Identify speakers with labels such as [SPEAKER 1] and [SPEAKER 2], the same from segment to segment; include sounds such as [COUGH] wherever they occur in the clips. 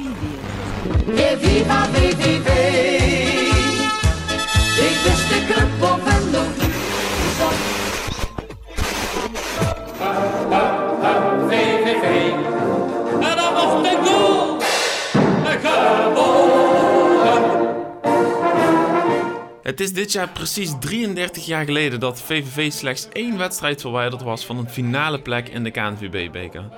[SPEAKER 1] E viva VVV! Ik wist de club op en nog niet.
[SPEAKER 2] VVV. En dan was de goal. En gewonnen.
[SPEAKER 3] Het is dit jaar precies 33 jaar geleden dat VVV slechts één wedstrijd verwijderd was van een finale plek in de KNVB-beker.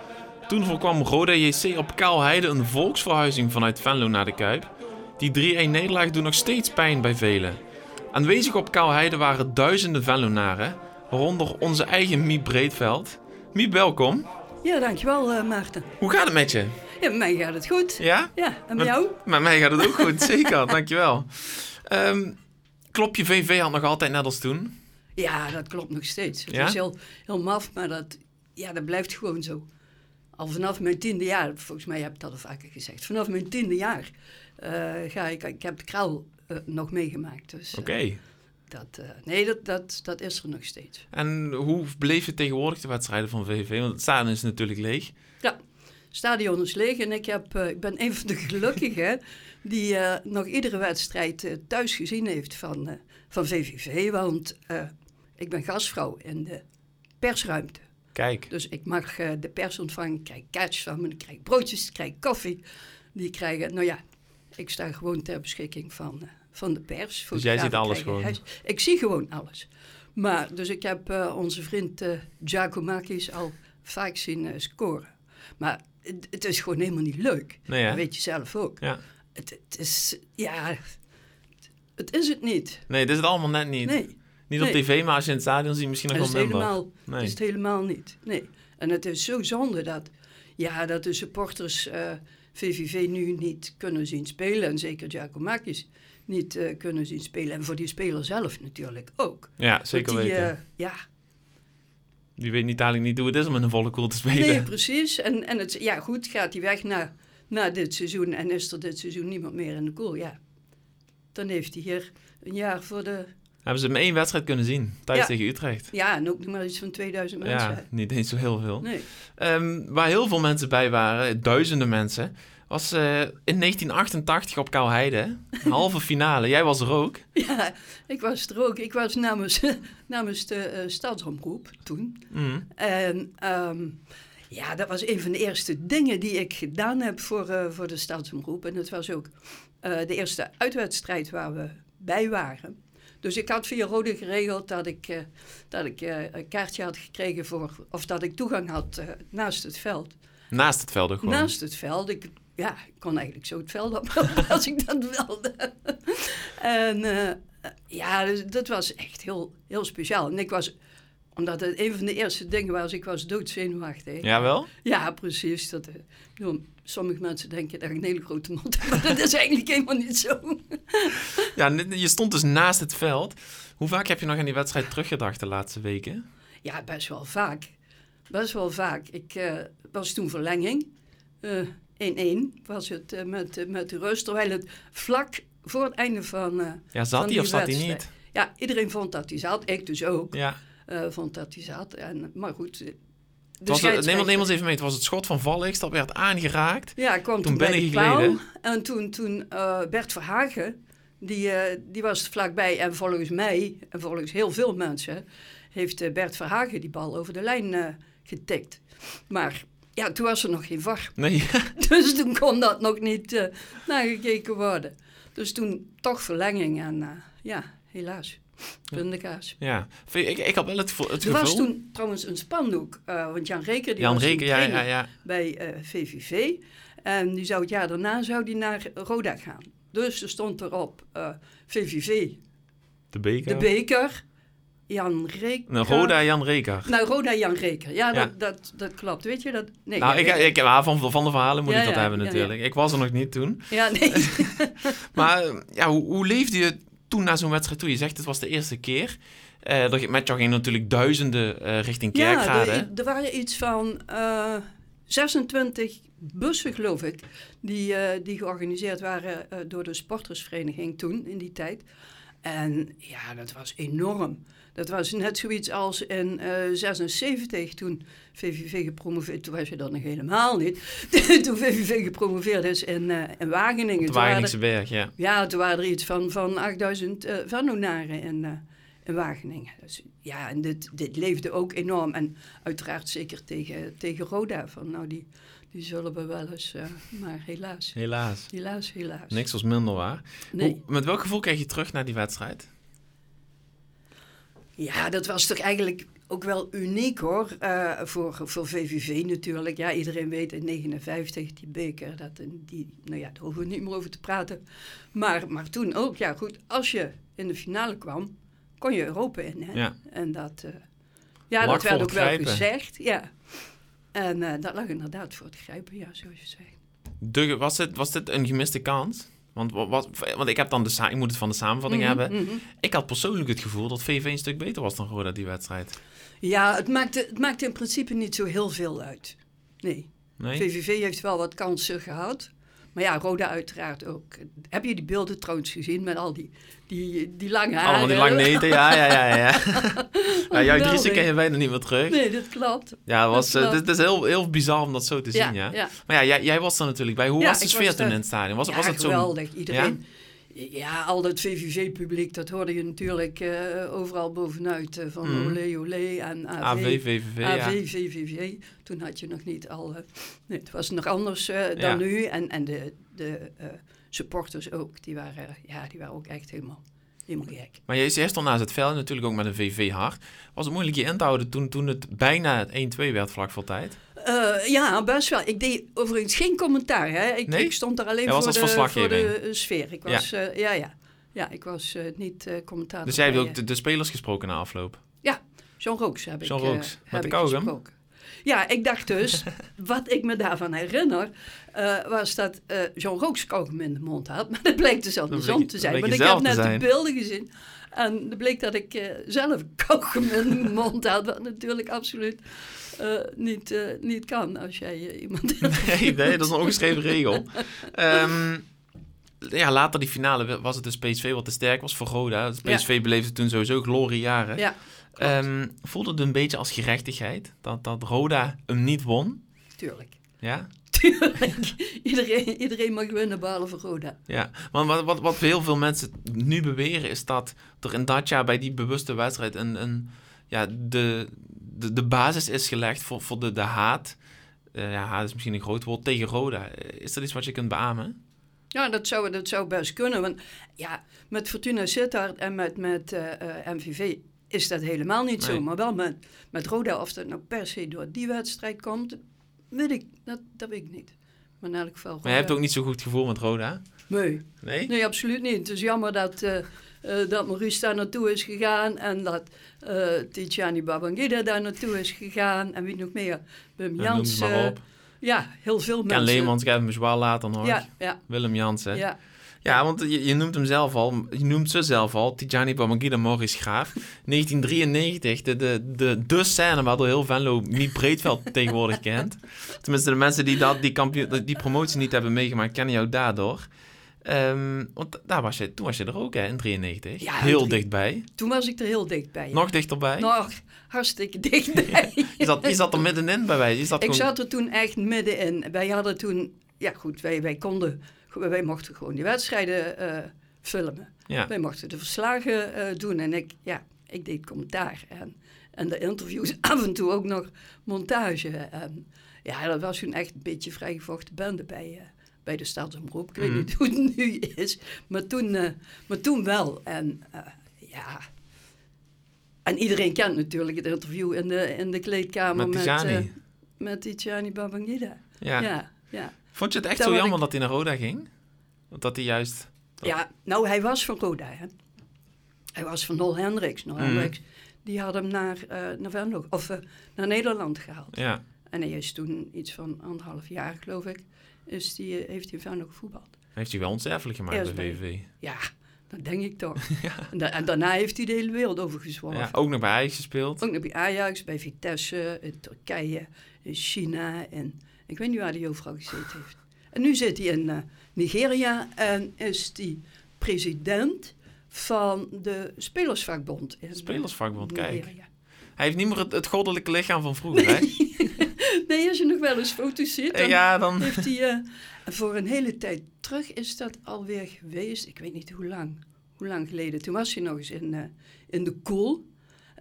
[SPEAKER 3] Toen voorkwam Roda JC op Kaalheide een volksverhuizing vanuit Venlo naar de Kuip. Die 3-1-nederlaag doet nog steeds pijn bij velen. Aanwezig op Kaalheide waren duizenden Venlonaren, waaronder onze eigen Miep Breedveld. Miep, welkom.
[SPEAKER 4] Ja, dankjewel eh, Maarten.
[SPEAKER 3] Hoe gaat het met je?
[SPEAKER 4] Ja, met mij gaat het goed.
[SPEAKER 3] Ja?
[SPEAKER 4] Ja, en met jou?
[SPEAKER 3] Met mij gaat het ook goed, zeker. Dankjewel. Ehm klopt, je VV had nog altijd net als toen.
[SPEAKER 4] Ja, dat klopt nog steeds. Het
[SPEAKER 3] Ja?
[SPEAKER 4] is heel, heel maf, maar dat, ja, dat blijft gewoon zo. Al vanaf mijn tiende jaar, volgens mij heb ik dat al vaker gezegd. Vanaf mijn tiende jaar eh, ga ik, ik heb de kraal eh, nog meegemaakt. Dus eh,
[SPEAKER 3] Oké.
[SPEAKER 4] dat, eh, nee, dat, dat, dat is er nog steeds.
[SPEAKER 3] En hoe bleef je tegenwoordig de wedstrijden van VVV? Want het stadion is natuurlijk leeg.
[SPEAKER 4] Ja, stadion is leeg en ik, heb, eh, ik ben een van de gelukkigen die eh, nog iedere wedstrijd eh, thuis gezien heeft van, eh, van VVV. Want eh, ik ben gastvrouw in de persruimte.
[SPEAKER 3] Kijk.
[SPEAKER 4] Dus ik mag eh, de pers ontvangen, ik krijg kaartjes van me, ik krijg broodjes, ik krijg koffie. Die krijgen, nou ja, ik sta gewoon ter beschikking van, eh, van de pers.
[SPEAKER 3] Dus jij ziet
[SPEAKER 4] Fotografen
[SPEAKER 3] alles
[SPEAKER 4] krijgen
[SPEAKER 3] gewoon?
[SPEAKER 4] huis- Ik zie gewoon alles. Maar, dus ik heb eh, onze vriend eh Giacomakis al vaak zien eh, scoren. Maar het, het is gewoon helemaal niet leuk.
[SPEAKER 3] Nee, hè?
[SPEAKER 4] Dat weet je zelf ook.
[SPEAKER 3] Ja.
[SPEAKER 4] Het, het is, ja, het is het niet.
[SPEAKER 3] Nee, dit is het allemaal net niet.
[SPEAKER 4] Nee.
[SPEAKER 3] Niet op
[SPEAKER 4] nee.
[SPEAKER 3] tv, maar als je in het stadion ziet, misschien nog
[SPEAKER 4] Dat
[SPEAKER 3] wel
[SPEAKER 4] is, het
[SPEAKER 3] minder.
[SPEAKER 4] helemaal,
[SPEAKER 3] Nee.
[SPEAKER 4] is het helemaal niet. Nee. En het is zo zonde dat, ja, dat de supporters eh, VVV nu niet kunnen zien spelen. En zeker Giacomakis niet eh, kunnen zien spelen. En voor die speler zelf natuurlijk ook.
[SPEAKER 3] Ja, zeker
[SPEAKER 4] Want die,
[SPEAKER 3] weten.
[SPEAKER 4] eh, ja,
[SPEAKER 3] [LAUGHS] Die weet niet, eigenlijk niet hoe het is om in een volle koel te spelen.
[SPEAKER 4] nee, precies. En, en het, ja, goed, gaat hij weg naar, naar dit seizoen en is er dit seizoen niemand meer in de koel. Ja, dan heeft hij hier een jaar voor de...
[SPEAKER 3] [LAUGHS] Hebben ze hem één wedstrijd kunnen zien, thuis
[SPEAKER 4] Ja.
[SPEAKER 3] tegen Utrecht.
[SPEAKER 4] Ja, en ook nog maar iets van 2000 mensen.
[SPEAKER 3] Ja, niet eens zo heel veel.
[SPEAKER 4] Nee.
[SPEAKER 3] Ehm, waar heel veel mensen bij waren, duizenden mensen, was eh, in 1988 op Kouheide. Een halve [LAUGHS] finale. Jij was er ook.
[SPEAKER 4] Ja, ik was er ook. Ik was namens, [LAUGHS] namens de eh, stadsomroep toen.
[SPEAKER 3] Mhm.
[SPEAKER 4] En ehm, ja, dat was een van de eerste dingen die ik gedaan heb voor, eh, voor de stadsomroep. En het was ook eh, de eerste uitwedstrijd waar we bij waren. Dus ik had via Rode geregeld dat ik, eh, dat ik eh, een kaartje had gekregen voor... of dat ik toegang had eh, naast het veld.
[SPEAKER 3] Naast het veld ook gewoon.
[SPEAKER 4] Naast het veld. Ik, ja, ik kon eigenlijk zo het veld op [LAUGHS] als ik dat wilde. en eh, ja, dus dat was echt heel, heel speciaal. En ik was, omdat het een van de eerste dingen was, ik was doodzenuwachtig.
[SPEAKER 3] Jawel?
[SPEAKER 4] Ja, precies. Dat, eh, ik bedoel, sommige mensen denken dat ik een hele grote mond heb, maar dat is eigenlijk helemaal niet zo.
[SPEAKER 3] Ja, n- je stond dus naast het veld. Hoe vaak heb je nog aan die wedstrijd teruggedacht de laatste weken?
[SPEAKER 4] Ja, best wel vaak. Best wel vaak. Ik eh, was toen verlenging. Eh, 1-1 was het eh, met, eh, met de rust. Terwijl het vlak voor het einde van. eh,
[SPEAKER 3] Ja, zat
[SPEAKER 4] van
[SPEAKER 3] hij
[SPEAKER 4] die
[SPEAKER 3] of zat hij
[SPEAKER 4] wedstrijd.
[SPEAKER 3] niet?
[SPEAKER 4] Ja, iedereen vond dat hij zat. Ik dus ook
[SPEAKER 3] Ja.
[SPEAKER 4] eh, vond dat hij zat. En, maar goed. eh, De
[SPEAKER 3] Het was, het- neem,
[SPEAKER 4] scheidsrechter-
[SPEAKER 3] neem ons even mee. Het was het schot van Valix, dat werd aangeraakt.
[SPEAKER 4] Ja, ik kwam toen,
[SPEAKER 3] Toen ben
[SPEAKER 4] bij
[SPEAKER 3] ik
[SPEAKER 4] de paal.
[SPEAKER 3] geleden.
[SPEAKER 4] En toen, toen eh, Bert Verhagen, die, eh, die was er vlakbij. En volgens mij, en volgens heel veel mensen, heeft eh, Bert Verhagen die bal over de lijn eh, getikt. Maar ja, toen was er nog geen VAR. [LAUGHS]
[SPEAKER 3] Nee, [LAUGHS]
[SPEAKER 4] Dus toen kon dat nog niet eh, nagekeken worden. Dus toen toch verlenging. En eh, ja, helaas. Pindakaas.
[SPEAKER 3] ja. Ik, ik had wel het, gevo- het
[SPEAKER 4] Er was
[SPEAKER 3] gevoel...
[SPEAKER 4] toen trouwens een spandoek, eh, want Jan Reker die
[SPEAKER 3] Jan
[SPEAKER 4] was toen
[SPEAKER 3] Reker, ja,
[SPEAKER 4] trainer
[SPEAKER 3] ja, ja.
[SPEAKER 4] bij eh, VVV. En die zou het jaar daarna zou die naar Roda gaan. Dus er stond erop eh, VVV,
[SPEAKER 3] De beker.
[SPEAKER 4] de beker, Jan Reker.
[SPEAKER 3] Nou, Roda Jan Reker.
[SPEAKER 4] Nou, Roda Jan Reker. Ja,
[SPEAKER 3] Ja.
[SPEAKER 4] Dat, dat, dat klopt. Weet je dat? Nee,
[SPEAKER 3] Nou,
[SPEAKER 4] ja,
[SPEAKER 3] ik,
[SPEAKER 4] weet-
[SPEAKER 3] ik, ja, van, van de verhalen moet
[SPEAKER 4] Ja,
[SPEAKER 3] ik dat
[SPEAKER 4] ja,
[SPEAKER 3] hebben
[SPEAKER 4] ja,
[SPEAKER 3] natuurlijk. Ik was er nog niet toen.
[SPEAKER 4] ja, nee.
[SPEAKER 3] Maar eh, ja, hoe, hoe leefde je toen naar zo'n wedstrijd toe? Je zegt het was de eerste keer. Eh er, met jou gingen natuurlijk duizenden eh, richting
[SPEAKER 4] ja,
[SPEAKER 3] Kerkrade. hè?
[SPEAKER 4] er, er waren iets van eh, 26 bussen, geloof ik, die, eh, die georganiseerd waren eh, door de sportersvereniging toen, in die tijd. En ja, dat was enorm. Dat was net zoiets als in eh 76 toen VVV gepromoveerd... Toen was je dat nog helemaal niet. [LAUGHS] toen VVV gepromoveerd is in, eh, in Wageningen.
[SPEAKER 3] Het
[SPEAKER 4] Toen waren
[SPEAKER 3] Wageningse Berg, ja.
[SPEAKER 4] ja, toen waren er iets van, van 8000 eh Venonaren in, eh, in Wageningen. Dus, ja, en dit, dit leefde ook enorm. En uiteraard zeker tegen, tegen Roda. Van, nou, die, die zullen we wel eens, eh, maar helaas.
[SPEAKER 3] Helaas.
[SPEAKER 4] Helaas, helaas.
[SPEAKER 3] Niks was minder waar.
[SPEAKER 4] Nee.
[SPEAKER 3] Hoe- met welk gevoel kijk je terug naar die wedstrijd?
[SPEAKER 4] Ja, dat was toch eigenlijk ook wel uniek hoor. eh, voor, voor VVV natuurlijk. Ja, iedereen weet in 59 die beker. Dat, en die, nou ja, daar hoeven we niet meer over te praten. Maar, maar toen ook, ja goed. Als je in de finale kwam, kon je Europa in. Hè?
[SPEAKER 3] Ja.
[SPEAKER 4] En dat, eh, ja,
[SPEAKER 3] Lag
[SPEAKER 4] dat
[SPEAKER 3] voor
[SPEAKER 4] werd
[SPEAKER 3] het
[SPEAKER 4] ook wel
[SPEAKER 3] grijpen.
[SPEAKER 4] gezegd. Ja. En eh, dat lag inderdaad voor het grijpen, ja, zoals je zegt.
[SPEAKER 3] De, was, dit, was dit een gemiste kans? Want, wa- wat, want ik, heb dan de, sa- ik moet het van de samenvatting hebben. Ik had persoonlijk het gevoel dat VV een stuk beter was dan Roda die wedstrijd.
[SPEAKER 4] Ja, het maakte, het maakte in principe niet zo heel veel uit. Nee.
[SPEAKER 3] Nee?
[SPEAKER 4] VVV heeft wel wat kansen gehad. Maar ja, Roda uiteraard ook. Heb je die beelden trouwens gezien met al die, die, die lange haren?
[SPEAKER 3] Allemaal die
[SPEAKER 4] [LAUGHS]
[SPEAKER 3] lang neten, ja, ja, ja. ja. ja jouw Driessen
[SPEAKER 4] Geweldig.
[SPEAKER 3] ken je bijna niet meer terug.
[SPEAKER 4] Nee, dat klopt.
[SPEAKER 3] Ja, het was,
[SPEAKER 4] Dat
[SPEAKER 3] eh,
[SPEAKER 4] klopt.
[SPEAKER 3] dit is heel, heel bizar om dat zo te
[SPEAKER 4] Ja,
[SPEAKER 3] zien, ja.
[SPEAKER 4] ja.
[SPEAKER 3] Maar ja, jij, jij was er natuurlijk bij. Hoe
[SPEAKER 4] Ja,
[SPEAKER 3] was de
[SPEAKER 4] ik
[SPEAKER 3] sfeer
[SPEAKER 4] was
[SPEAKER 3] toen
[SPEAKER 4] er.
[SPEAKER 3] in het stadion? Was,
[SPEAKER 4] ja,
[SPEAKER 3] was het zo?
[SPEAKER 4] geweldig. Iedereen. Ja? al dat VVV-publiek, dat hoorde je natuurlijk eh, overal bovenuit. eh, van
[SPEAKER 3] Mhm.
[SPEAKER 4] olé, olé en AV.
[SPEAKER 3] AV, VVV, ja.
[SPEAKER 4] AV, VVV. Toen had je nog niet al... eh, nee, het was nog anders eh, dan
[SPEAKER 3] Ja.
[SPEAKER 4] nu. En, en de, de eh, supporters ook, die waren, ja, die waren ook echt helemaal, helemaal gek.
[SPEAKER 3] Maar jij zegt al naast het veld natuurlijk ook met een VV-hart. Was het moeilijk je in te houden toen, toen het bijna 1-2 werd vlak voor tijd?
[SPEAKER 4] Eh, ja, best wel. Ik deed overigens geen commentaar. Hè. Ik,
[SPEAKER 3] Nee?
[SPEAKER 4] ik stond er alleen
[SPEAKER 3] Jij was
[SPEAKER 4] voor,
[SPEAKER 3] als
[SPEAKER 4] de, voor
[SPEAKER 3] verslaggever.
[SPEAKER 4] de eh, sfeer. Ik
[SPEAKER 3] Ja.
[SPEAKER 4] was, eh, ja. ja, ja. ik was eh, niet eh commentator.
[SPEAKER 3] Dus jij hebt
[SPEAKER 4] bij,
[SPEAKER 3] ook
[SPEAKER 4] eh,
[SPEAKER 3] de, de spelers gesproken na afloop. [LAUGHS]
[SPEAKER 4] John Rooks heb
[SPEAKER 3] John
[SPEAKER 4] ik eh,
[SPEAKER 3] Rooks, met
[SPEAKER 4] heb
[SPEAKER 3] de
[SPEAKER 4] ik
[SPEAKER 3] kauwgom?
[SPEAKER 4] gesproken. Ja, ik dacht
[SPEAKER 3] [LAUGHS]
[SPEAKER 4] dus, wat ik me daarvan herinner, eh, was dat eh John Rooks kauwgom in de mond had. [LAUGHS] Maar dat bleek dus andersom
[SPEAKER 3] bleek-
[SPEAKER 4] te
[SPEAKER 3] dat
[SPEAKER 4] zijn.
[SPEAKER 3] bleek
[SPEAKER 4] Want ik
[SPEAKER 3] jezelf
[SPEAKER 4] heb
[SPEAKER 3] te
[SPEAKER 4] net
[SPEAKER 3] zijn.
[SPEAKER 4] de beelden gezien. En dat bleek dat ik eh, zelf [LAUGHS] kauwgom in de mond had. Wat natuurlijk absoluut eh, niet, eh, niet kan als jij eh, iemand... [LAUGHS]
[SPEAKER 3] Nee, nee, dat is een ongeschreven regel. Ehm, ja, later die finale was het dus PSV wat te sterk was voor Roda. Dus PSV beleefde toen sowieso gloriejaren.
[SPEAKER 4] Ja.
[SPEAKER 3] Ehm, voelde het een beetje als gerechtigheid dat, dat Roda hem niet won?
[SPEAKER 4] Tuurlijk.
[SPEAKER 3] Ja?
[SPEAKER 4] Tuurlijk. iedereen, iedereen mag winnen, behalve Roda.
[SPEAKER 3] Ja, want wat, wat, wat heel veel mensen nu beweren is dat er in dat jaar bij die bewuste wedstrijd een, een, ja, de, de, de basis is gelegd voor, voor de, de haat. Eh, ja, haat is misschien een groot woord tegen Roda. Eh, Is dat iets wat je kunt beamen?
[SPEAKER 4] Ja, dat zou, dat zou best kunnen. Want ja, met Fortuna Sittard en met, met eh, eh, MVV is dat helemaal niet
[SPEAKER 3] Nee.
[SPEAKER 4] zo. Maar wel met, met Roda, of dat nou per se door die wedstrijd komt, weet ik, dat, dat weet ik niet. Maar in elk geval eh,
[SPEAKER 3] Maar je hebt ook niet zo'n goed gevoel met Roda.
[SPEAKER 4] Nee,
[SPEAKER 3] Nee?
[SPEAKER 4] nee, absoluut niet. Het is jammer dat, eh eh, dat Maurice daar naartoe is gegaan en dat eh Tijani Babangida daar naartoe is gegaan. En wie nog meer? Wim
[SPEAKER 3] Ja, Noem het
[SPEAKER 4] Jans.
[SPEAKER 3] maar
[SPEAKER 4] eh,
[SPEAKER 3] op.
[SPEAKER 4] ja, heel veel
[SPEAKER 3] Ken
[SPEAKER 4] mensen.
[SPEAKER 3] Leemans, Gavin Bezwaal later nog.
[SPEAKER 4] Ja, ja,
[SPEAKER 3] Willem Jansen. Ja.
[SPEAKER 4] ja.
[SPEAKER 3] want je, je noemt hem zelf al. Je noemt ze zelf al. Tijani Babangida Morris
[SPEAKER 4] [LAUGHS]
[SPEAKER 3] Graaf. 1993. De, de, de, de scène waardoor heel Venlo niet
[SPEAKER 4] [LAUGHS]
[SPEAKER 3] Breedveld tegenwoordig kent. Tenminste, de mensen die dat, die, kampioen, die promotie niet hebben meegemaakt, kennen jou daardoor. Ehm, want daar was je, toen was je er ook, hè, in 93.
[SPEAKER 4] Ja, in
[SPEAKER 3] heel
[SPEAKER 4] drie-
[SPEAKER 3] dichtbij.
[SPEAKER 4] Toen was ik er heel dichtbij. ja.
[SPEAKER 3] Nog dichterbij.
[SPEAKER 4] Nog hartstikke dichtbij.
[SPEAKER 3] Je, zat, je zat er middenin bij wij. Je zat
[SPEAKER 4] [LAUGHS] ik
[SPEAKER 3] gewoon-
[SPEAKER 4] zat er toen echt middenin. Wij hadden toen, ja goed, wij, wij konden, wij mochten gewoon die wedstrijden eh, filmen.
[SPEAKER 3] Ja.
[SPEAKER 4] Wij mochten de verslagen eh, doen en ik, ja, ik deed commentaar en, en de interviews, [LAUGHS] af en toe ook nog montage. En, ja, dat was toen echt een beetje vrijgevochten bende bij, eh, bij de Staatsomroep. Ik weet
[SPEAKER 3] Mhm.
[SPEAKER 4] niet [LAUGHS] hoe het nu is, maar toen, eh, maar toen wel. En eh, ja... En iedereen kent natuurlijk het interview in de, in de kleedkamer
[SPEAKER 3] Met
[SPEAKER 4] met,
[SPEAKER 3] Tijani.
[SPEAKER 4] eh, met Tijani Babangida.
[SPEAKER 3] ja.
[SPEAKER 4] Ja, ja. ja.
[SPEAKER 3] Vond je het echt
[SPEAKER 4] Daar
[SPEAKER 3] zo
[SPEAKER 4] word
[SPEAKER 3] jammer dat hij naar Roda ging? Want Dat hij juist... Oh.
[SPEAKER 4] nou, hij was van Roda, hè. Hij was van Nol Hendricks. Nol
[SPEAKER 3] Mhm.
[SPEAKER 4] Hendricks, die had hem naar, eh, naar, Venlo- of, eh, naar Nederland gehaald.
[SPEAKER 3] Ja,
[SPEAKER 4] En hij is toen iets van anderhalf jaar, geloof ik, is die, eh, heeft hij in Venlo gevoetbald.
[SPEAKER 3] heeft hij wel onsterfelijk gemaakt
[SPEAKER 4] Eerst
[SPEAKER 3] bij
[SPEAKER 4] bij-
[SPEAKER 3] VV.
[SPEAKER 4] Ja, dat denk
[SPEAKER 3] [LAUGHS]
[SPEAKER 4] ik toch. en, da- en daarna heeft hij de hele wereld overgezworven.
[SPEAKER 3] Ja, ook nog bij Ajax gespeeld.
[SPEAKER 4] Ook nog bij Ajax, bij Vitesse, in Turkije, in China en ik weet niet waar hij overal gezeten heeft. En nu zit hij in eh, Nigeria en is hij president van de Spelersvakbond. in, eh,
[SPEAKER 3] Spelersvakbond, kijk.
[SPEAKER 4] Nigeria.
[SPEAKER 3] Hij heeft niet meer het, het goddelijke lichaam van vroeger,
[SPEAKER 4] [LAUGHS]
[SPEAKER 3] hè?
[SPEAKER 4] Nee, als je nog wel eens foto's ziet, dan
[SPEAKER 3] Ja,
[SPEAKER 4] [LAUGHS]
[SPEAKER 3] dan...
[SPEAKER 4] heeft hij... eh, voor een hele tijd terug is dat alweer geweest. Ik weet niet hoe lang. Hoe lang geleden. Toen was hij nog eens in, eh, in de koel.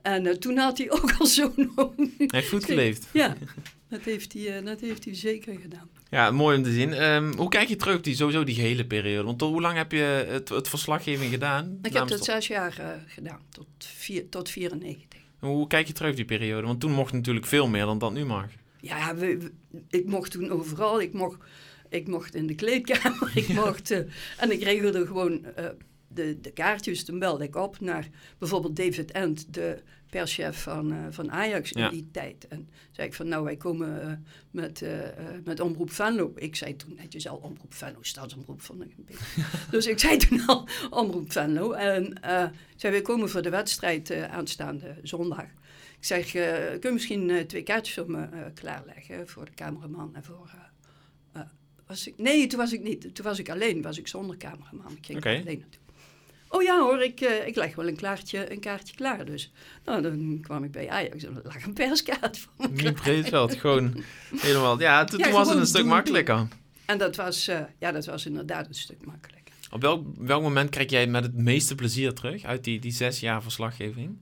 [SPEAKER 4] En eh, toen had hij ook al zo'n [LAUGHS] hoofd.
[SPEAKER 3] Hij heeft goed geleefd.
[SPEAKER 4] [LAUGHS] Ja, dat heeft, hij, eh, dat heeft hij zeker gedaan.
[SPEAKER 3] Ja, mooi om te zien. Ehm, hoe kijk je terug op die, sowieso die hele periode? Want tot hoe lang heb je het, het verslaggeving gedaan?
[SPEAKER 4] Ik heb
[SPEAKER 3] namens
[SPEAKER 4] dat
[SPEAKER 3] de-
[SPEAKER 4] zes jaar eh, gedaan, tot, vier, tot 94.
[SPEAKER 3] Hoe kijk je terug op die periode? Want toen mocht natuurlijk veel meer dan dat nu
[SPEAKER 4] [LAUGHS]
[SPEAKER 3] mag.
[SPEAKER 4] Ja, we- we- ik mocht toen overal. Ik mocht, ik mocht in de kleedkamer. [LAUGHS] Ik mocht, eh, en ik regelde gewoon eh, de, de kaartjes. Toen belde ik op naar bijvoorbeeld David Ent, de perschef van, eh, van Ajax
[SPEAKER 3] Ja.
[SPEAKER 4] in die tijd. En zei ik van, nou, wij komen eh, met, eh, eh, met Omroep Venlo. Ik zei toen netjes al Omroep Venlo, Stadsomroep vond ik een
[SPEAKER 3] [LAUGHS]
[SPEAKER 4] beetje. dus ik zei toen al Omroep Venlo. En eh zei, wij komen voor de wedstrijd eh, aanstaande zondag. Ik zeg, eh, kun je misschien eh, twee kaartjes voor me eh, klaarleggen voor de cameraman en voor... eh, eh, was ik, nee, toen was ik niet. Toen was ik alleen, was ik zonder cameraman. Ik ging
[SPEAKER 3] Oké.
[SPEAKER 4] er alleen naartoe. Oh ja hoor, ik, eh, ik leg wel een, klaartje, een kaartje klaar. Dus nou, dan kwam ik bij Ajax en er lag een perskaart voor me klaar.
[SPEAKER 3] Nu Breedveld,
[SPEAKER 4] [LAUGHS]
[SPEAKER 3] gewoon helemaal. Ja, toen,
[SPEAKER 4] Ja,
[SPEAKER 3] toen was het
[SPEAKER 4] gewoon
[SPEAKER 3] een stuk
[SPEAKER 4] doen,
[SPEAKER 3] makkelijker.
[SPEAKER 4] En dat was, eh, ja, dat was inderdaad een stuk makkelijker.
[SPEAKER 3] Op welk, welk moment krijg jij met het meeste plezier terug uit die, die zes jaar verslaggeving?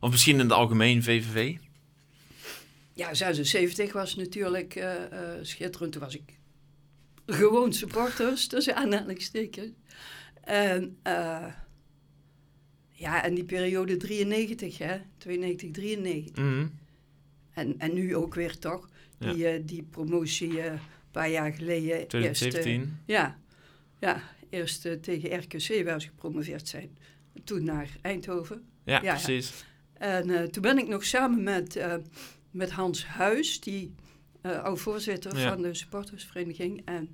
[SPEAKER 3] Of misschien in het algemeen VVV?
[SPEAKER 4] Ja, 76 was natuurlijk eh, eh, schitterend. Toen was ik gewoon supporters, [LAUGHS] tussen aanhalingstekens. En, eh, ja, en die periode 93, hè? 92, 93.
[SPEAKER 3] Mhm.
[SPEAKER 4] En, en nu ook weer toch,
[SPEAKER 3] Ja.
[SPEAKER 4] die, eh, die promotie eh, een paar jaar geleden. eerst, eh,
[SPEAKER 3] 2017.
[SPEAKER 4] Ja, ja. eerst eh, tegen RKC, waar ze gepromoveerd zijn. Toen naar Eindhoven.
[SPEAKER 3] Ja,
[SPEAKER 4] ja.
[SPEAKER 3] precies.
[SPEAKER 4] En eh, toen ben ik nog samen met, eh, met Hans Huis, die eh oud-voorzitter
[SPEAKER 3] Ja.
[SPEAKER 4] van de supportersvereniging. En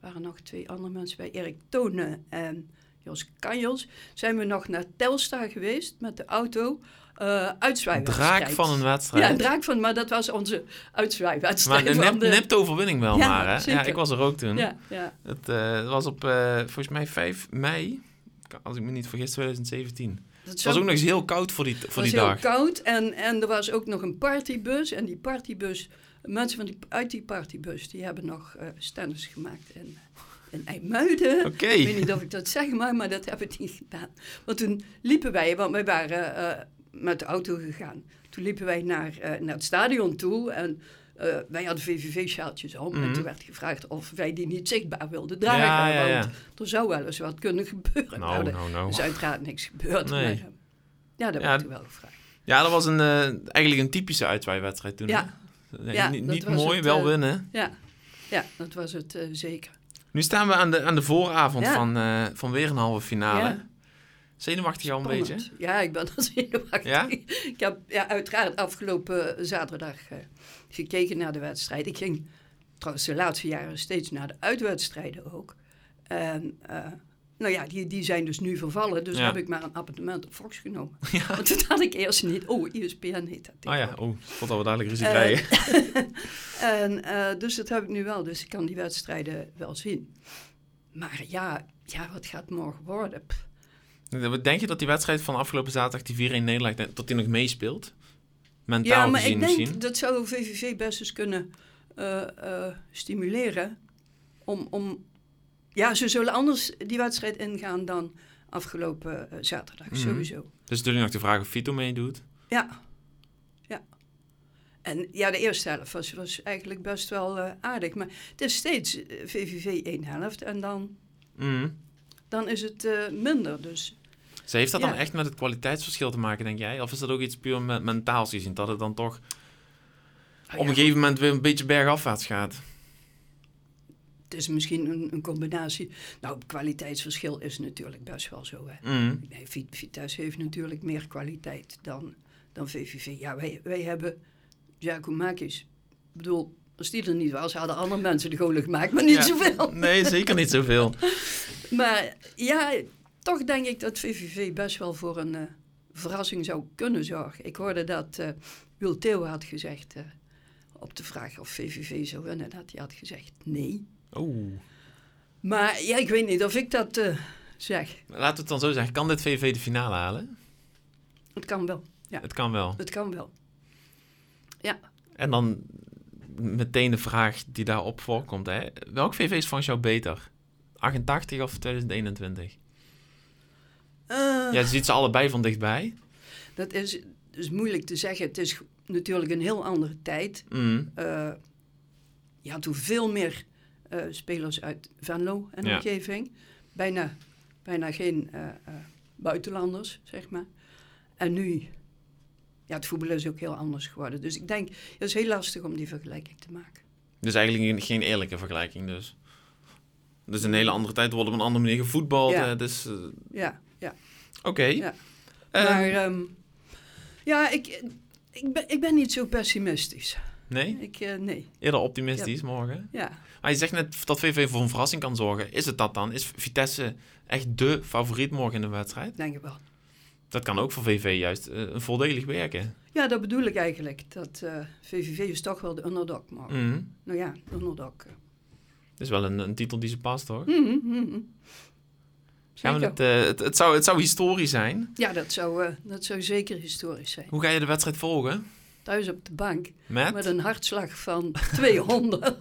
[SPEAKER 4] waren nog twee andere mensen bij, Erik Tonen en Jos Kanjels. Zijn we nog naar Telstar geweest met de auto. eh uitzwaaiwedstrijd.
[SPEAKER 3] Draak van een
[SPEAKER 4] Ja, een
[SPEAKER 3] wedstrijd.
[SPEAKER 4] draak van, maar dat was onze
[SPEAKER 3] maar
[SPEAKER 4] uitzwaaiwedstrijd.
[SPEAKER 3] een
[SPEAKER 4] van
[SPEAKER 3] nep,
[SPEAKER 4] de-
[SPEAKER 3] nepte overwinning wel
[SPEAKER 4] Ja,
[SPEAKER 3] maar, hè? Ja,
[SPEAKER 4] zeker.
[SPEAKER 3] ik was er ook toen.
[SPEAKER 4] Ja, ja.
[SPEAKER 3] Het eh, was op, eh, volgens mij 5 mei, als ik me niet vergis, 2017.
[SPEAKER 4] Dat
[SPEAKER 3] Het
[SPEAKER 4] zou-
[SPEAKER 3] was ook nog eens heel koud voor die, voor
[SPEAKER 4] Het
[SPEAKER 3] die
[SPEAKER 4] was
[SPEAKER 3] dag.
[SPEAKER 4] heel koud en, en er was ook nog een partybus. En die partybus, mensen van die, uit die partybus, die hebben nog eh stands gemaakt in, in IJmuiden.
[SPEAKER 3] Oké.
[SPEAKER 4] Ik weet niet of ik dat zeg, maar, maar dat hebben die gedaan. Want toen liepen wij, want wij waren eh, met de auto gegaan. Toen liepen wij naar, eh, naar het stadion toe en eh, wij hadden VVV-sjaaltjes om. En
[SPEAKER 3] Mhm.
[SPEAKER 4] toen werd gevraagd of wij die niet zichtbaar wilden dragen.
[SPEAKER 3] Ja, ja, ja.
[SPEAKER 4] Want er zou wel eens wat kunnen gebeuren.
[SPEAKER 3] Nou,
[SPEAKER 4] er
[SPEAKER 3] nou, nou.
[SPEAKER 4] is Dus uiteraard niks gebeurd.
[SPEAKER 3] Nee.
[SPEAKER 4] maar, eh, ja, dat
[SPEAKER 3] Ja,
[SPEAKER 4] werd toen wel gevraagd.
[SPEAKER 3] Ja, dat was een, eh, eigenlijk een typische uitwaaiwedstrijd toen. hè?
[SPEAKER 4] Ja,
[SPEAKER 3] Eh,
[SPEAKER 4] ja,
[SPEAKER 3] niet
[SPEAKER 4] dat
[SPEAKER 3] niet
[SPEAKER 4] was
[SPEAKER 3] mooi,
[SPEAKER 4] het,
[SPEAKER 3] wel
[SPEAKER 4] eh,
[SPEAKER 3] winnen.
[SPEAKER 4] ja, ja, dat was het eh, zeker.
[SPEAKER 3] Nu staan we aan de, aan de vooravond
[SPEAKER 4] Ja.
[SPEAKER 3] van, eh, van weer een halve finale.
[SPEAKER 4] Ja.
[SPEAKER 3] Zenuwachtig al een beetje?
[SPEAKER 4] Spannend. Ja, ik ben al zenuwachtig.
[SPEAKER 3] Ja?
[SPEAKER 4] [LAUGHS] Ik heb ja, uiteraard afgelopen zaterdag eh, gekeken naar de wedstrijd. Ik ging trouwens de laatste jaren steeds naar de uitwedstrijden ook. En, eh, nou ja, die, die zijn dus nu vervallen. Dus
[SPEAKER 3] Ja.
[SPEAKER 4] heb ik maar een appartement op
[SPEAKER 3] [LAUGHS]
[SPEAKER 4] Fox genomen. Want dat had ik eerst niet. Oh, ESPN heet dat.
[SPEAKER 3] Oh ja,
[SPEAKER 4] tegenwoordig.
[SPEAKER 3] oh, god, dat we dadelijk ruzie
[SPEAKER 4] Eh,
[SPEAKER 3] krijgen.
[SPEAKER 4] En, eh, [LAUGHS] dus dat heb ik nu wel. Dus ik kan die wedstrijden wel zien. Maar ja, ja wat gaat morgen worden? Pff.
[SPEAKER 3] Denk je dat die wedstrijd van afgelopen zaterdag, die 4-1 Nederland, dat die nog meespeelt? Mentaal
[SPEAKER 4] Ja, maar
[SPEAKER 3] gezien
[SPEAKER 4] ik denk
[SPEAKER 3] misschien?
[SPEAKER 4] dat zou VVV best eens kunnen eh, eh, stimuleren. Om, om, ja, ze zullen anders die wedstrijd ingaan dan afgelopen eh, zaterdag,
[SPEAKER 3] Mhm.
[SPEAKER 4] sowieso.
[SPEAKER 3] Dus natuurlijk nog de vraag of Vito meedoet.
[SPEAKER 4] Ja. ja. En ja, de eerste helft was, was eigenlijk best wel eh, aardig. Maar het is steeds eh, VVV één helft en dan,
[SPEAKER 3] Mhm.
[SPEAKER 4] dan is het eh, minder. Dus
[SPEAKER 3] Ze heeft dat
[SPEAKER 4] Ja.
[SPEAKER 3] dan echt met het kwaliteitsverschil te maken, denk jij? Of is dat ook iets puur me- mentaals gezien? Dat het dan toch
[SPEAKER 4] nou
[SPEAKER 3] op
[SPEAKER 4] ja,
[SPEAKER 3] een gegeven moment weer een beetje bergafwaarts gaat?
[SPEAKER 4] het is misschien een, een combinatie. Nou, kwaliteitsverschil is natuurlijk best wel zo. Hè.
[SPEAKER 3] Mm.
[SPEAKER 4] Nee, Vit- Vitesse heeft natuurlijk meer kwaliteit dan, dan VVV. Ja, wij, wij hebben Giacomakis. Ik bedoel, als die er niet was, hadden andere mensen de golen gemaakt, maar niet
[SPEAKER 3] Ja.
[SPEAKER 4] zoveel.
[SPEAKER 3] Nee, zeker niet zoveel.
[SPEAKER 4] Maar ja, toch denk ik dat VVV best wel voor een eh, verrassing zou kunnen zorgen. Ik hoorde dat eh Wil Theo had gezegd eh, op de vraag of VVV zou winnen, dat hij had gezegd nee.
[SPEAKER 3] [LAUGHS] Oeh.
[SPEAKER 4] Maar ja, ik weet niet of ik dat eh, Zeg,
[SPEAKER 3] Laten we het dan zo zeggen. Kan dit VV de finale halen?
[SPEAKER 4] het kan wel.
[SPEAKER 3] Het kan wel.
[SPEAKER 4] Het kan wel.
[SPEAKER 3] En dan meteen de vraag die daarop voorkomt. Hè? Welk VV is volgens jou beter? 88 of 2021?
[SPEAKER 4] Eh,
[SPEAKER 3] Ja, je ziet ze allebei van dichtbij.
[SPEAKER 4] Dat is, dat is moeilijk te zeggen. Het is natuurlijk een heel andere tijd.
[SPEAKER 3] Mm.
[SPEAKER 4] Eh, je had toen veel meer eh, spelers uit Venlo en
[SPEAKER 3] Ja.
[SPEAKER 4] omgeving. Bijna, bijna geen eh, eh, buitenlanders, zeg maar. En nu, ja, het voetbal is ook heel anders geworden. Dus ik denk, het is heel lastig om die vergelijking te maken.
[SPEAKER 3] Dus eigenlijk geen- geen eerlijke vergelijking dus. Dus een hele andere tijd wordt op een andere manier gevoetbald.
[SPEAKER 4] Ja.
[SPEAKER 3] eh, dus, eh,
[SPEAKER 4] Ja, ja.
[SPEAKER 3] oké.
[SPEAKER 4] Ja.
[SPEAKER 3] Eh,
[SPEAKER 4] maar ehm, ja, ik, ik, ben, ik ben niet zo pessimistisch.
[SPEAKER 3] nee,
[SPEAKER 4] Ik, eh, nee,
[SPEAKER 3] eerder optimistisch morgen.
[SPEAKER 4] ja.
[SPEAKER 3] Maar je zegt net dat VV voor een verrassing kan zorgen. Is het dat dan? Is Vitesse echt de favoriet morgen in de wedstrijd?
[SPEAKER 4] Ik denk het wel.
[SPEAKER 3] Dat kan ook voor VV juist eh, een voordelig werken.
[SPEAKER 4] Ja, dat bedoel ik eigenlijk. Dat eh, VVV is toch wel de underdog mag.
[SPEAKER 3] Mhm.
[SPEAKER 4] Nou ja, de underdog. eh.
[SPEAKER 3] Dat is wel een, een titel die ze past, hoor.
[SPEAKER 4] Mhm, mhm.
[SPEAKER 3] Gaan we
[SPEAKER 4] Zeker.
[SPEAKER 3] het, eh, het, het, zou, het zou historisch zijn.
[SPEAKER 4] Ja, dat zou, eh, dat zou zeker historisch zijn.
[SPEAKER 3] Hoe ga je de wedstrijd volgen?
[SPEAKER 4] Thuis op de bank
[SPEAKER 3] Met?
[SPEAKER 4] met een hartslag van [LAUGHS] 200.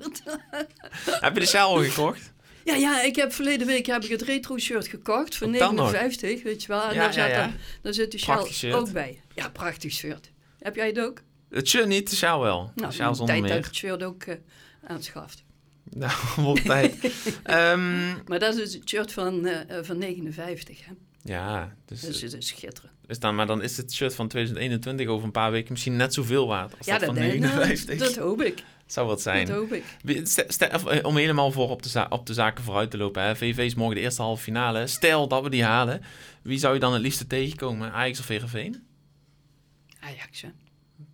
[SPEAKER 3] Heb je de sjaal al gekocht?
[SPEAKER 4] ja, ja, ik heb verleden week heb ik het retro shirt gekocht voor
[SPEAKER 3] Ook dan nog?
[SPEAKER 4] 59, weet je wel. En
[SPEAKER 3] Ja,
[SPEAKER 4] daar,
[SPEAKER 3] ja,
[SPEAKER 4] zat
[SPEAKER 3] ja.
[SPEAKER 4] dan- daar zit de
[SPEAKER 3] Prachtig
[SPEAKER 4] sjaal
[SPEAKER 3] shirt.
[SPEAKER 4] ook bij. Ja, prachtig shirt. Heb jij het ook? Nou,
[SPEAKER 3] Het shirt niet, de sjaal wel. de sjaal
[SPEAKER 4] tijd
[SPEAKER 3] zonder
[SPEAKER 4] dat ik
[SPEAKER 3] meer.
[SPEAKER 4] het shirt ook eh, aanschaft.
[SPEAKER 3] [LAUGHS] Nou, wordt
[SPEAKER 4] [LAUGHS]
[SPEAKER 3] tijd. Ehm,
[SPEAKER 4] Maar dat is het shirt van, eh, eh, van 59, hè.
[SPEAKER 3] ja, dus,
[SPEAKER 4] Dus het is schitterend.
[SPEAKER 3] is dan, maar dan is het shirt van 2021 over een paar weken misschien net zoveel waard als
[SPEAKER 4] Ja,
[SPEAKER 3] dat,
[SPEAKER 4] dat,
[SPEAKER 3] van
[SPEAKER 4] denk ik.
[SPEAKER 3] 59.
[SPEAKER 4] dat hoop ik.
[SPEAKER 3] zou wat zijn.
[SPEAKER 4] Dat hoop ik.
[SPEAKER 3] Wie- ste- ste- of, eh, om helemaal voor op de, za- op de zaken vooruit te lopen. Hè. VV is morgen de eerste halve finale. Stel dat we die halen. Wie zou je dan het liefste tegenkomen? Ajax of Heerenveen?
[SPEAKER 4] Ajax, hè?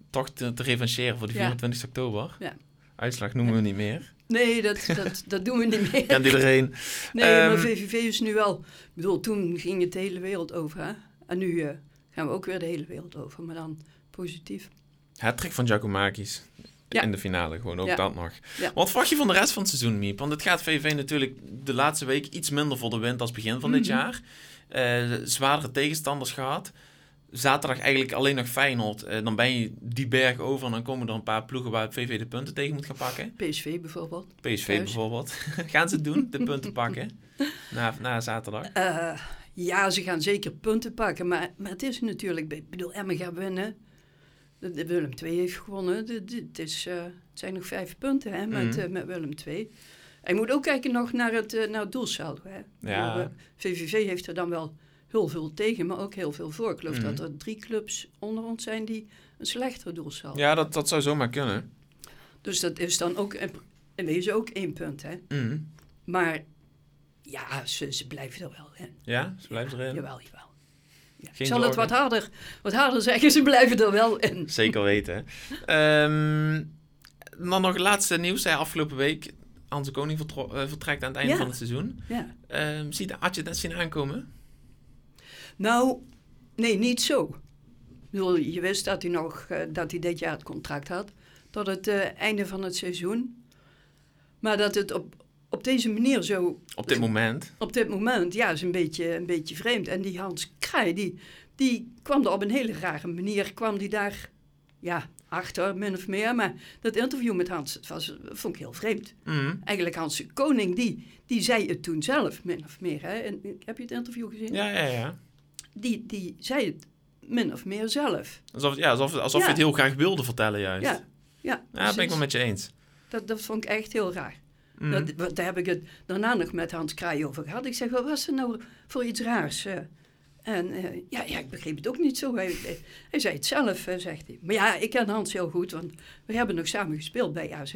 [SPEAKER 3] Toch te, te revancheren voor de
[SPEAKER 4] Ja.
[SPEAKER 3] 24 oktober.
[SPEAKER 4] Ja.
[SPEAKER 3] Uitslag noemen we niet meer.
[SPEAKER 4] Nee, dat, dat, dat doen we niet
[SPEAKER 3] [LAUGHS]
[SPEAKER 4] meer.
[SPEAKER 3] Kent iedereen.
[SPEAKER 4] Nee,
[SPEAKER 3] Ehm,
[SPEAKER 4] maar VVV is nu wel... Ik bedoel, toen ging het de hele wereld over, hè? En nu eh, gaan we ook weer de hele wereld over, maar dan positief.
[SPEAKER 3] Het trick van Giacomakis.
[SPEAKER 4] Ja.
[SPEAKER 3] In de finale, gewoon ook
[SPEAKER 4] Ja.
[SPEAKER 3] dat nog.
[SPEAKER 4] Ja.
[SPEAKER 3] Wat verwacht je van de rest van het seizoen, Miep? Want het gaat VV natuurlijk de laatste week iets minder voor de wind als begin van
[SPEAKER 4] Mhm.
[SPEAKER 3] dit jaar. Eh, zwaardere tegenstanders gehad. Zaterdag eigenlijk alleen nog Feyenoord. Eh, dan ben je die berg over en dan komen er een paar ploegen waar VV de punten tegen moet gaan pakken.
[SPEAKER 4] PSV bijvoorbeeld.
[SPEAKER 3] PSV
[SPEAKER 4] Thuis.
[SPEAKER 3] bijvoorbeeld. [LAUGHS] gaan ze het doen, de punten
[SPEAKER 4] [LAUGHS]
[SPEAKER 3] pakken? Na, na zaterdag.
[SPEAKER 4] Eh, ja, ze gaan zeker punten pakken, maar, maar het is natuurlijk... Ik bedoel, Emmen gaat winnen. De- de Willem II heeft gewonnen. De- de- het, is, eh, het zijn nog vijf punten hè, met,
[SPEAKER 3] Mhm.
[SPEAKER 4] eh, met Willem II. En je moet ook kijken nog naar het, eh, naar het doelsaldo. Hè. Ik
[SPEAKER 3] Ja.
[SPEAKER 4] bedoel, eh, VVV heeft er dan wel heel veel tegen, maar ook heel veel voor. Ik geloof
[SPEAKER 3] Mhm.
[SPEAKER 4] dat er drie clubs onder ons zijn die een slechter doelsaldo
[SPEAKER 3] Ja, dat, dat zou zomaar kunnen.
[SPEAKER 4] Dus dat is dan ook in- in wezen ook één punt. Hè.
[SPEAKER 3] Mhm.
[SPEAKER 4] Maar ja, ze, ze blijven er wel in.
[SPEAKER 3] Ja, ze blijft erin.
[SPEAKER 4] Jawel, jawel. Ja. Ik
[SPEAKER 3] Geen
[SPEAKER 4] zal het
[SPEAKER 3] zorgen.
[SPEAKER 4] wat harder, wat harder zeggen, ze blijven er wel in.
[SPEAKER 3] Zeker weten. Ehm, dan nog het laatste nieuws. Hè, afgelopen week, Hans de Koning vertro- eh, vertrekt aan het einde
[SPEAKER 4] Ja.
[SPEAKER 3] van het seizoen.
[SPEAKER 4] Ja.
[SPEAKER 3] Ehm, ziet, had je dat zien aankomen?
[SPEAKER 4] Nou, nee, niet zo. Ik bedoel, je wist dat hij, nog, eh, dat hij dit jaar het contract had, tot het eh, einde van het seizoen. Maar dat het op, op deze manier zo
[SPEAKER 3] Op dit moment.
[SPEAKER 4] op dit moment, ja, is een beetje, een beetje vreemd. En die Hans Krij, die, die kwam er op een hele rare manier, kwam die daar, ja, achter, min of meer. Maar dat interview met Hans, dat was, vond ik heel vreemd.
[SPEAKER 3] Mhm.
[SPEAKER 4] Eigenlijk Hans de Koning, die, die zei het toen zelf, min of meer. Hè? En, eh, heb je het interview gezien?
[SPEAKER 3] Ja, ja, ja.
[SPEAKER 4] Die, die zei het min of meer zelf.
[SPEAKER 3] Alsof, ja, alsof, alsof
[SPEAKER 4] Ja.
[SPEAKER 3] je het heel graag wilde vertellen juist.
[SPEAKER 4] Ja, ja,
[SPEAKER 3] Ja, dat ben ik wel
[SPEAKER 4] precies.
[SPEAKER 3] met je eens.
[SPEAKER 4] dat, dat vond ik echt heel raar.
[SPEAKER 3] Mhm.
[SPEAKER 4] Dat, wat- daar heb ik het daarna nog met Hans Kraai over gehad. Ik zeg, wat was er nou voor iets raars? eh? En eh, ja, ja, ik begreep het ook niet zo. Hij, hij- hij zei het zelf, eh, zegt hij. Maar ja, ik ken Hans heel goed, want we hebben nog samen gespeeld bij AZ.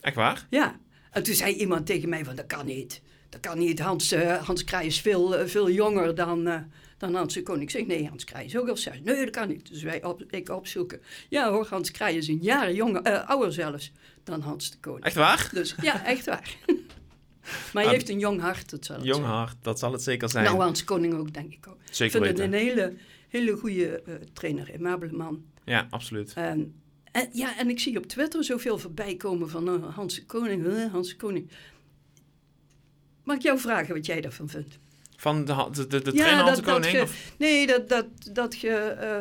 [SPEAKER 3] Echt waar?
[SPEAKER 4] Ja. En toen zei iemand tegen mij van, dat kan niet. Dat kan niet. Hans, eh, Hans Kraai is veel, eh, veel jonger dan, eh, dan Hans de Koning. Ik zeg, nee, Hans Kraai is ook al zes. Nee, dat kan niet. Dus wij op, ik opzoeken. Ja hoor, Hans Kraai is een jaar jonger, eh, ouder zelfs dan Hans de Koning.
[SPEAKER 3] Echt waar?
[SPEAKER 4] Dus ja, echt waar. [LAUGHS] maar hij
[SPEAKER 3] Ah,
[SPEAKER 4] heeft een jong hart, dat zal het
[SPEAKER 3] Jong
[SPEAKER 4] zijn.
[SPEAKER 3] hart, dat zal het zeker zijn.
[SPEAKER 4] Nou, Hans Koning ook, denk ik ook. Ik
[SPEAKER 3] zeker
[SPEAKER 4] vind het
[SPEAKER 3] weten.
[SPEAKER 4] een hele, hele goede eh, trainer, immabele man.
[SPEAKER 3] Ja, absoluut.
[SPEAKER 4] En, en, ja, en ik zie op Twitter zoveel voorbij komen van eh, Hans Koning, eh, Hans Koning. Mag ik jou vragen wat jij daarvan vindt?
[SPEAKER 3] Van de, ha- de, de, de trainer Hans de Koning?
[SPEAKER 4] ge-
[SPEAKER 3] of-
[SPEAKER 4] Nee, dat, dat, dat je eh,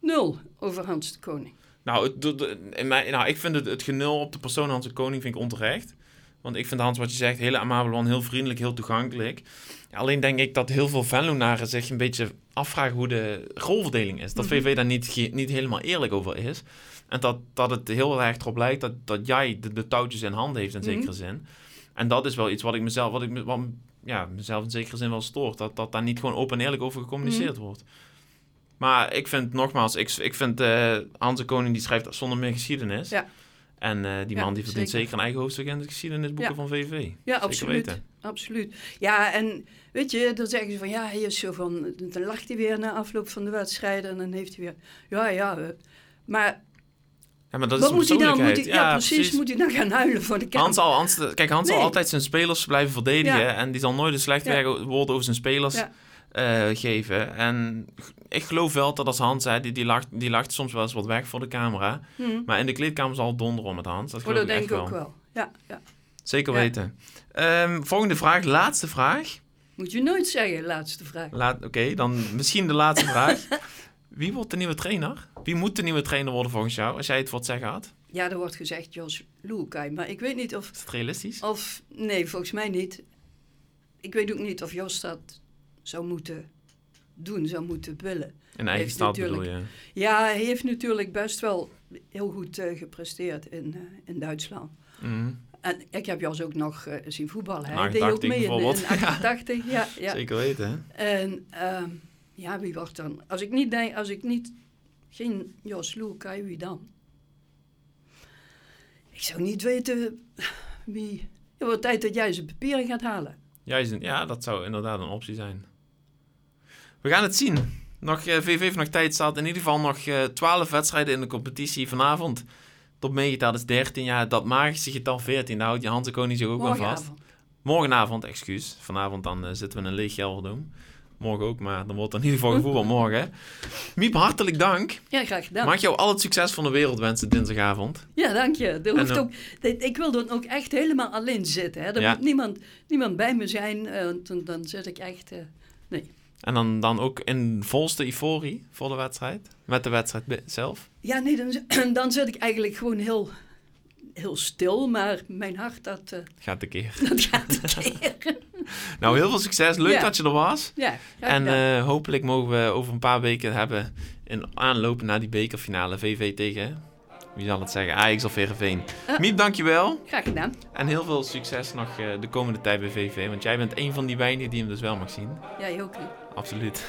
[SPEAKER 4] nul over Hans de Koning.
[SPEAKER 3] Nou, het, doet- in mijn- nou, ik vind het, het genul op de persoon Hans de Koning vind ik onterecht. Want ik vind Hans, wat je zegt, heel amabel man, heel vriendelijk, heel toegankelijk. Ja, alleen denk ik dat heel veel Venlonaren zich een beetje afvragen hoe de rolverdeling is. Dat
[SPEAKER 4] Mhm.
[SPEAKER 3] VV daar niet, ge- niet helemaal eerlijk over is. En dat, dat het heel erg erop lijkt dat, dat jij de, de touwtjes in handen heeft in zekere
[SPEAKER 4] Mhm.
[SPEAKER 3] zin. En dat is wel iets wat ik mezelf, wat ik me- wat, ja, mezelf in zekere zin wel stoort. Dat, dat daar niet gewoon open en eerlijk over gecommuniceerd
[SPEAKER 4] Mhm.
[SPEAKER 3] wordt. Maar ik vind nogmaals, ik, ik vind eh Hans de Koning die schrijft zonder meer geschiedenis.
[SPEAKER 4] Ja.
[SPEAKER 3] En eh, die
[SPEAKER 4] Ja,
[SPEAKER 3] man die verdient
[SPEAKER 4] zeker.
[SPEAKER 3] zeker. een eigen hoofdstuk in de geschiedenisboeken
[SPEAKER 4] Ja.
[SPEAKER 3] van VV.
[SPEAKER 4] Ja,
[SPEAKER 3] Zeker
[SPEAKER 4] absoluut.
[SPEAKER 3] weten.
[SPEAKER 4] Absoluut. Ja, en weet je, dan zeggen ze van ja, hij is zo van. Dan lacht hij weer na afloop van de wedstrijd en dan heeft hij weer. Ja, ja. eh, Maar
[SPEAKER 3] Ja, maar dat
[SPEAKER 4] wat
[SPEAKER 3] is
[SPEAKER 4] moet
[SPEAKER 3] de
[SPEAKER 4] hij dan? Moet
[SPEAKER 3] persoonlijkheid.
[SPEAKER 4] hij, ja, precies, Moet hij dan gaan huilen voor de kans?
[SPEAKER 3] Hans al, Hans, de- kijk, Hans zal
[SPEAKER 4] Nee.
[SPEAKER 3] altijd zijn spelers blijven verdedigen.
[SPEAKER 4] Ja.
[SPEAKER 3] En die zal nooit een slecht
[SPEAKER 4] Ja.
[SPEAKER 3] werk- woord over zijn spelers
[SPEAKER 4] Ja.
[SPEAKER 3] eh, geven. En g- ik geloof wel dat als Hans, hè, die, die, lacht, die lacht soms wel eens wat weg voor de camera.
[SPEAKER 4] Hm.
[SPEAKER 3] Maar in de kleedkamer zal het donderen met Hans. Dat
[SPEAKER 4] Oh,
[SPEAKER 3] geloof
[SPEAKER 4] dat
[SPEAKER 3] ik
[SPEAKER 4] denk
[SPEAKER 3] echt
[SPEAKER 4] ik
[SPEAKER 3] wel.
[SPEAKER 4] ook wel. Ja, ja.
[SPEAKER 3] Zeker
[SPEAKER 4] Ja.
[SPEAKER 3] weten. Ehm, volgende vraag, laatste vraag.
[SPEAKER 4] Moet je nooit zeggen, laatste vraag.
[SPEAKER 3] Laat- Oké, dan misschien de
[SPEAKER 4] [LAUGHS]
[SPEAKER 3] laatste vraag. Wie wordt de nieuwe trainer? Wie moet de nieuwe trainer worden volgens jou? Als jij het voor het zeggen had.
[SPEAKER 4] Ja, er wordt gezegd Jos Loekai, maar ik weet niet of,
[SPEAKER 3] Is het realistisch?
[SPEAKER 4] of... Nee, volgens mij niet. Ik weet ook niet of Jos dat zou moeten doen, zou moeten willen.
[SPEAKER 3] In eigen
[SPEAKER 4] heeft
[SPEAKER 3] staat bedoel
[SPEAKER 4] natuurlijk-
[SPEAKER 3] je?
[SPEAKER 4] Ja, hij heeft natuurlijk best wel heel goed eh, gepresteerd in, eh, in Duitsland.
[SPEAKER 3] Mhm,
[SPEAKER 4] En ik heb Jos ook nog eh, zien voetballen. hè.
[SPEAKER 3] In
[SPEAKER 4] Hij deed ook
[SPEAKER 3] 88
[SPEAKER 4] mee in, in
[SPEAKER 3] bijvoorbeeld. [LAUGHS]
[SPEAKER 4] 88. Ja, ja.
[SPEAKER 3] Zeker weten. hè?
[SPEAKER 4] En ehm, ja, wie wordt dan? Als ik niet denk, als ik niet, geen Jos Loekai, wie dan? Ik zou niet weten wie. Het wordt tijd dat jij zijn papieren gaat halen.
[SPEAKER 3] Juist, een- ja, dat zou inderdaad een optie zijn. We gaan het zien. Nog, eh, VV heeft nog tijd. Staat in ieder geval nog eh 12 wedstrijden in de competitie vanavond. Tot meegeteld is 13. Ja, dat magische getal 14. Daar houdt je Hans de Koning zich ook aan vast.
[SPEAKER 4] Morgenavond.
[SPEAKER 3] Morgenavond, excuus. Vanavond dan eh, zitten we in een leeg Gelderdoom. Morgen ook, maar dan wordt er in ieder geval gevoetbal
[SPEAKER 4] [LAUGHS]
[SPEAKER 3] morgen. hè. Miep, hartelijk dank.
[SPEAKER 4] Ja, graag gedaan.
[SPEAKER 3] Mag ik jou al het succes van de wereld wensen dinsdagavond.
[SPEAKER 4] Ja, dank je. Er
[SPEAKER 3] En
[SPEAKER 4] hoeft
[SPEAKER 3] dan-
[SPEAKER 4] ook, dit- ik wil dan ook echt helemaal alleen zitten. Hè. Er
[SPEAKER 3] Ja.
[SPEAKER 4] moet niemand, niemand bij me zijn, eh, want dan, dan zit ik echt... eh,
[SPEAKER 3] En dan, dan ook in volste euforie voor de wedstrijd. Met de wedstrijd be- zelf.
[SPEAKER 4] Ja, nee, dan, [CLEARS THROAT] dan zit ik eigenlijk gewoon heel, heel stil, maar mijn hart, dat, eh, [LAUGHS]
[SPEAKER 3] Gaat de keer.
[SPEAKER 4] dat gaat keer.
[SPEAKER 3] Nou, heel veel succes. Leuk
[SPEAKER 4] Ja.
[SPEAKER 3] dat je er was.
[SPEAKER 4] Ja, graag
[SPEAKER 3] En
[SPEAKER 4] gedaan.
[SPEAKER 3] eh, hopelijk mogen we over een paar weken hebben een aanlopen naar die bekerfinale. VV tegen, wie zal het zeggen, Ajax of
[SPEAKER 4] [LAUGHS]
[SPEAKER 3] Heerenveen. Miep, dankjewel.
[SPEAKER 4] graag gedaan.
[SPEAKER 3] En heel veel succes nog eh, de komende tijd bij VV. Want jij bent een van die weinigen die hem dus wel mag zien.
[SPEAKER 4] Jij ook. hè?
[SPEAKER 3] Absoluut.
[SPEAKER 4] [LAUGHS]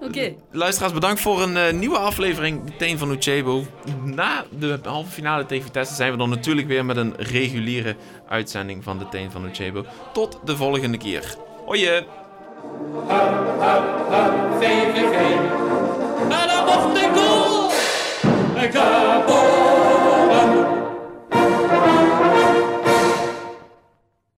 [SPEAKER 4] Oké,
[SPEAKER 3] Luisteraars, bedankt voor een eh, nieuwe aflevering. Meteen van Uchebo. Na de halve finale tegen Vitesse zijn we dan natuurlijk weer met een reguliere uitzending van de Teen van Uchebo. Tot de volgende keer. Hoi! eh.
[SPEAKER 2] VVV. En dan mocht ik go!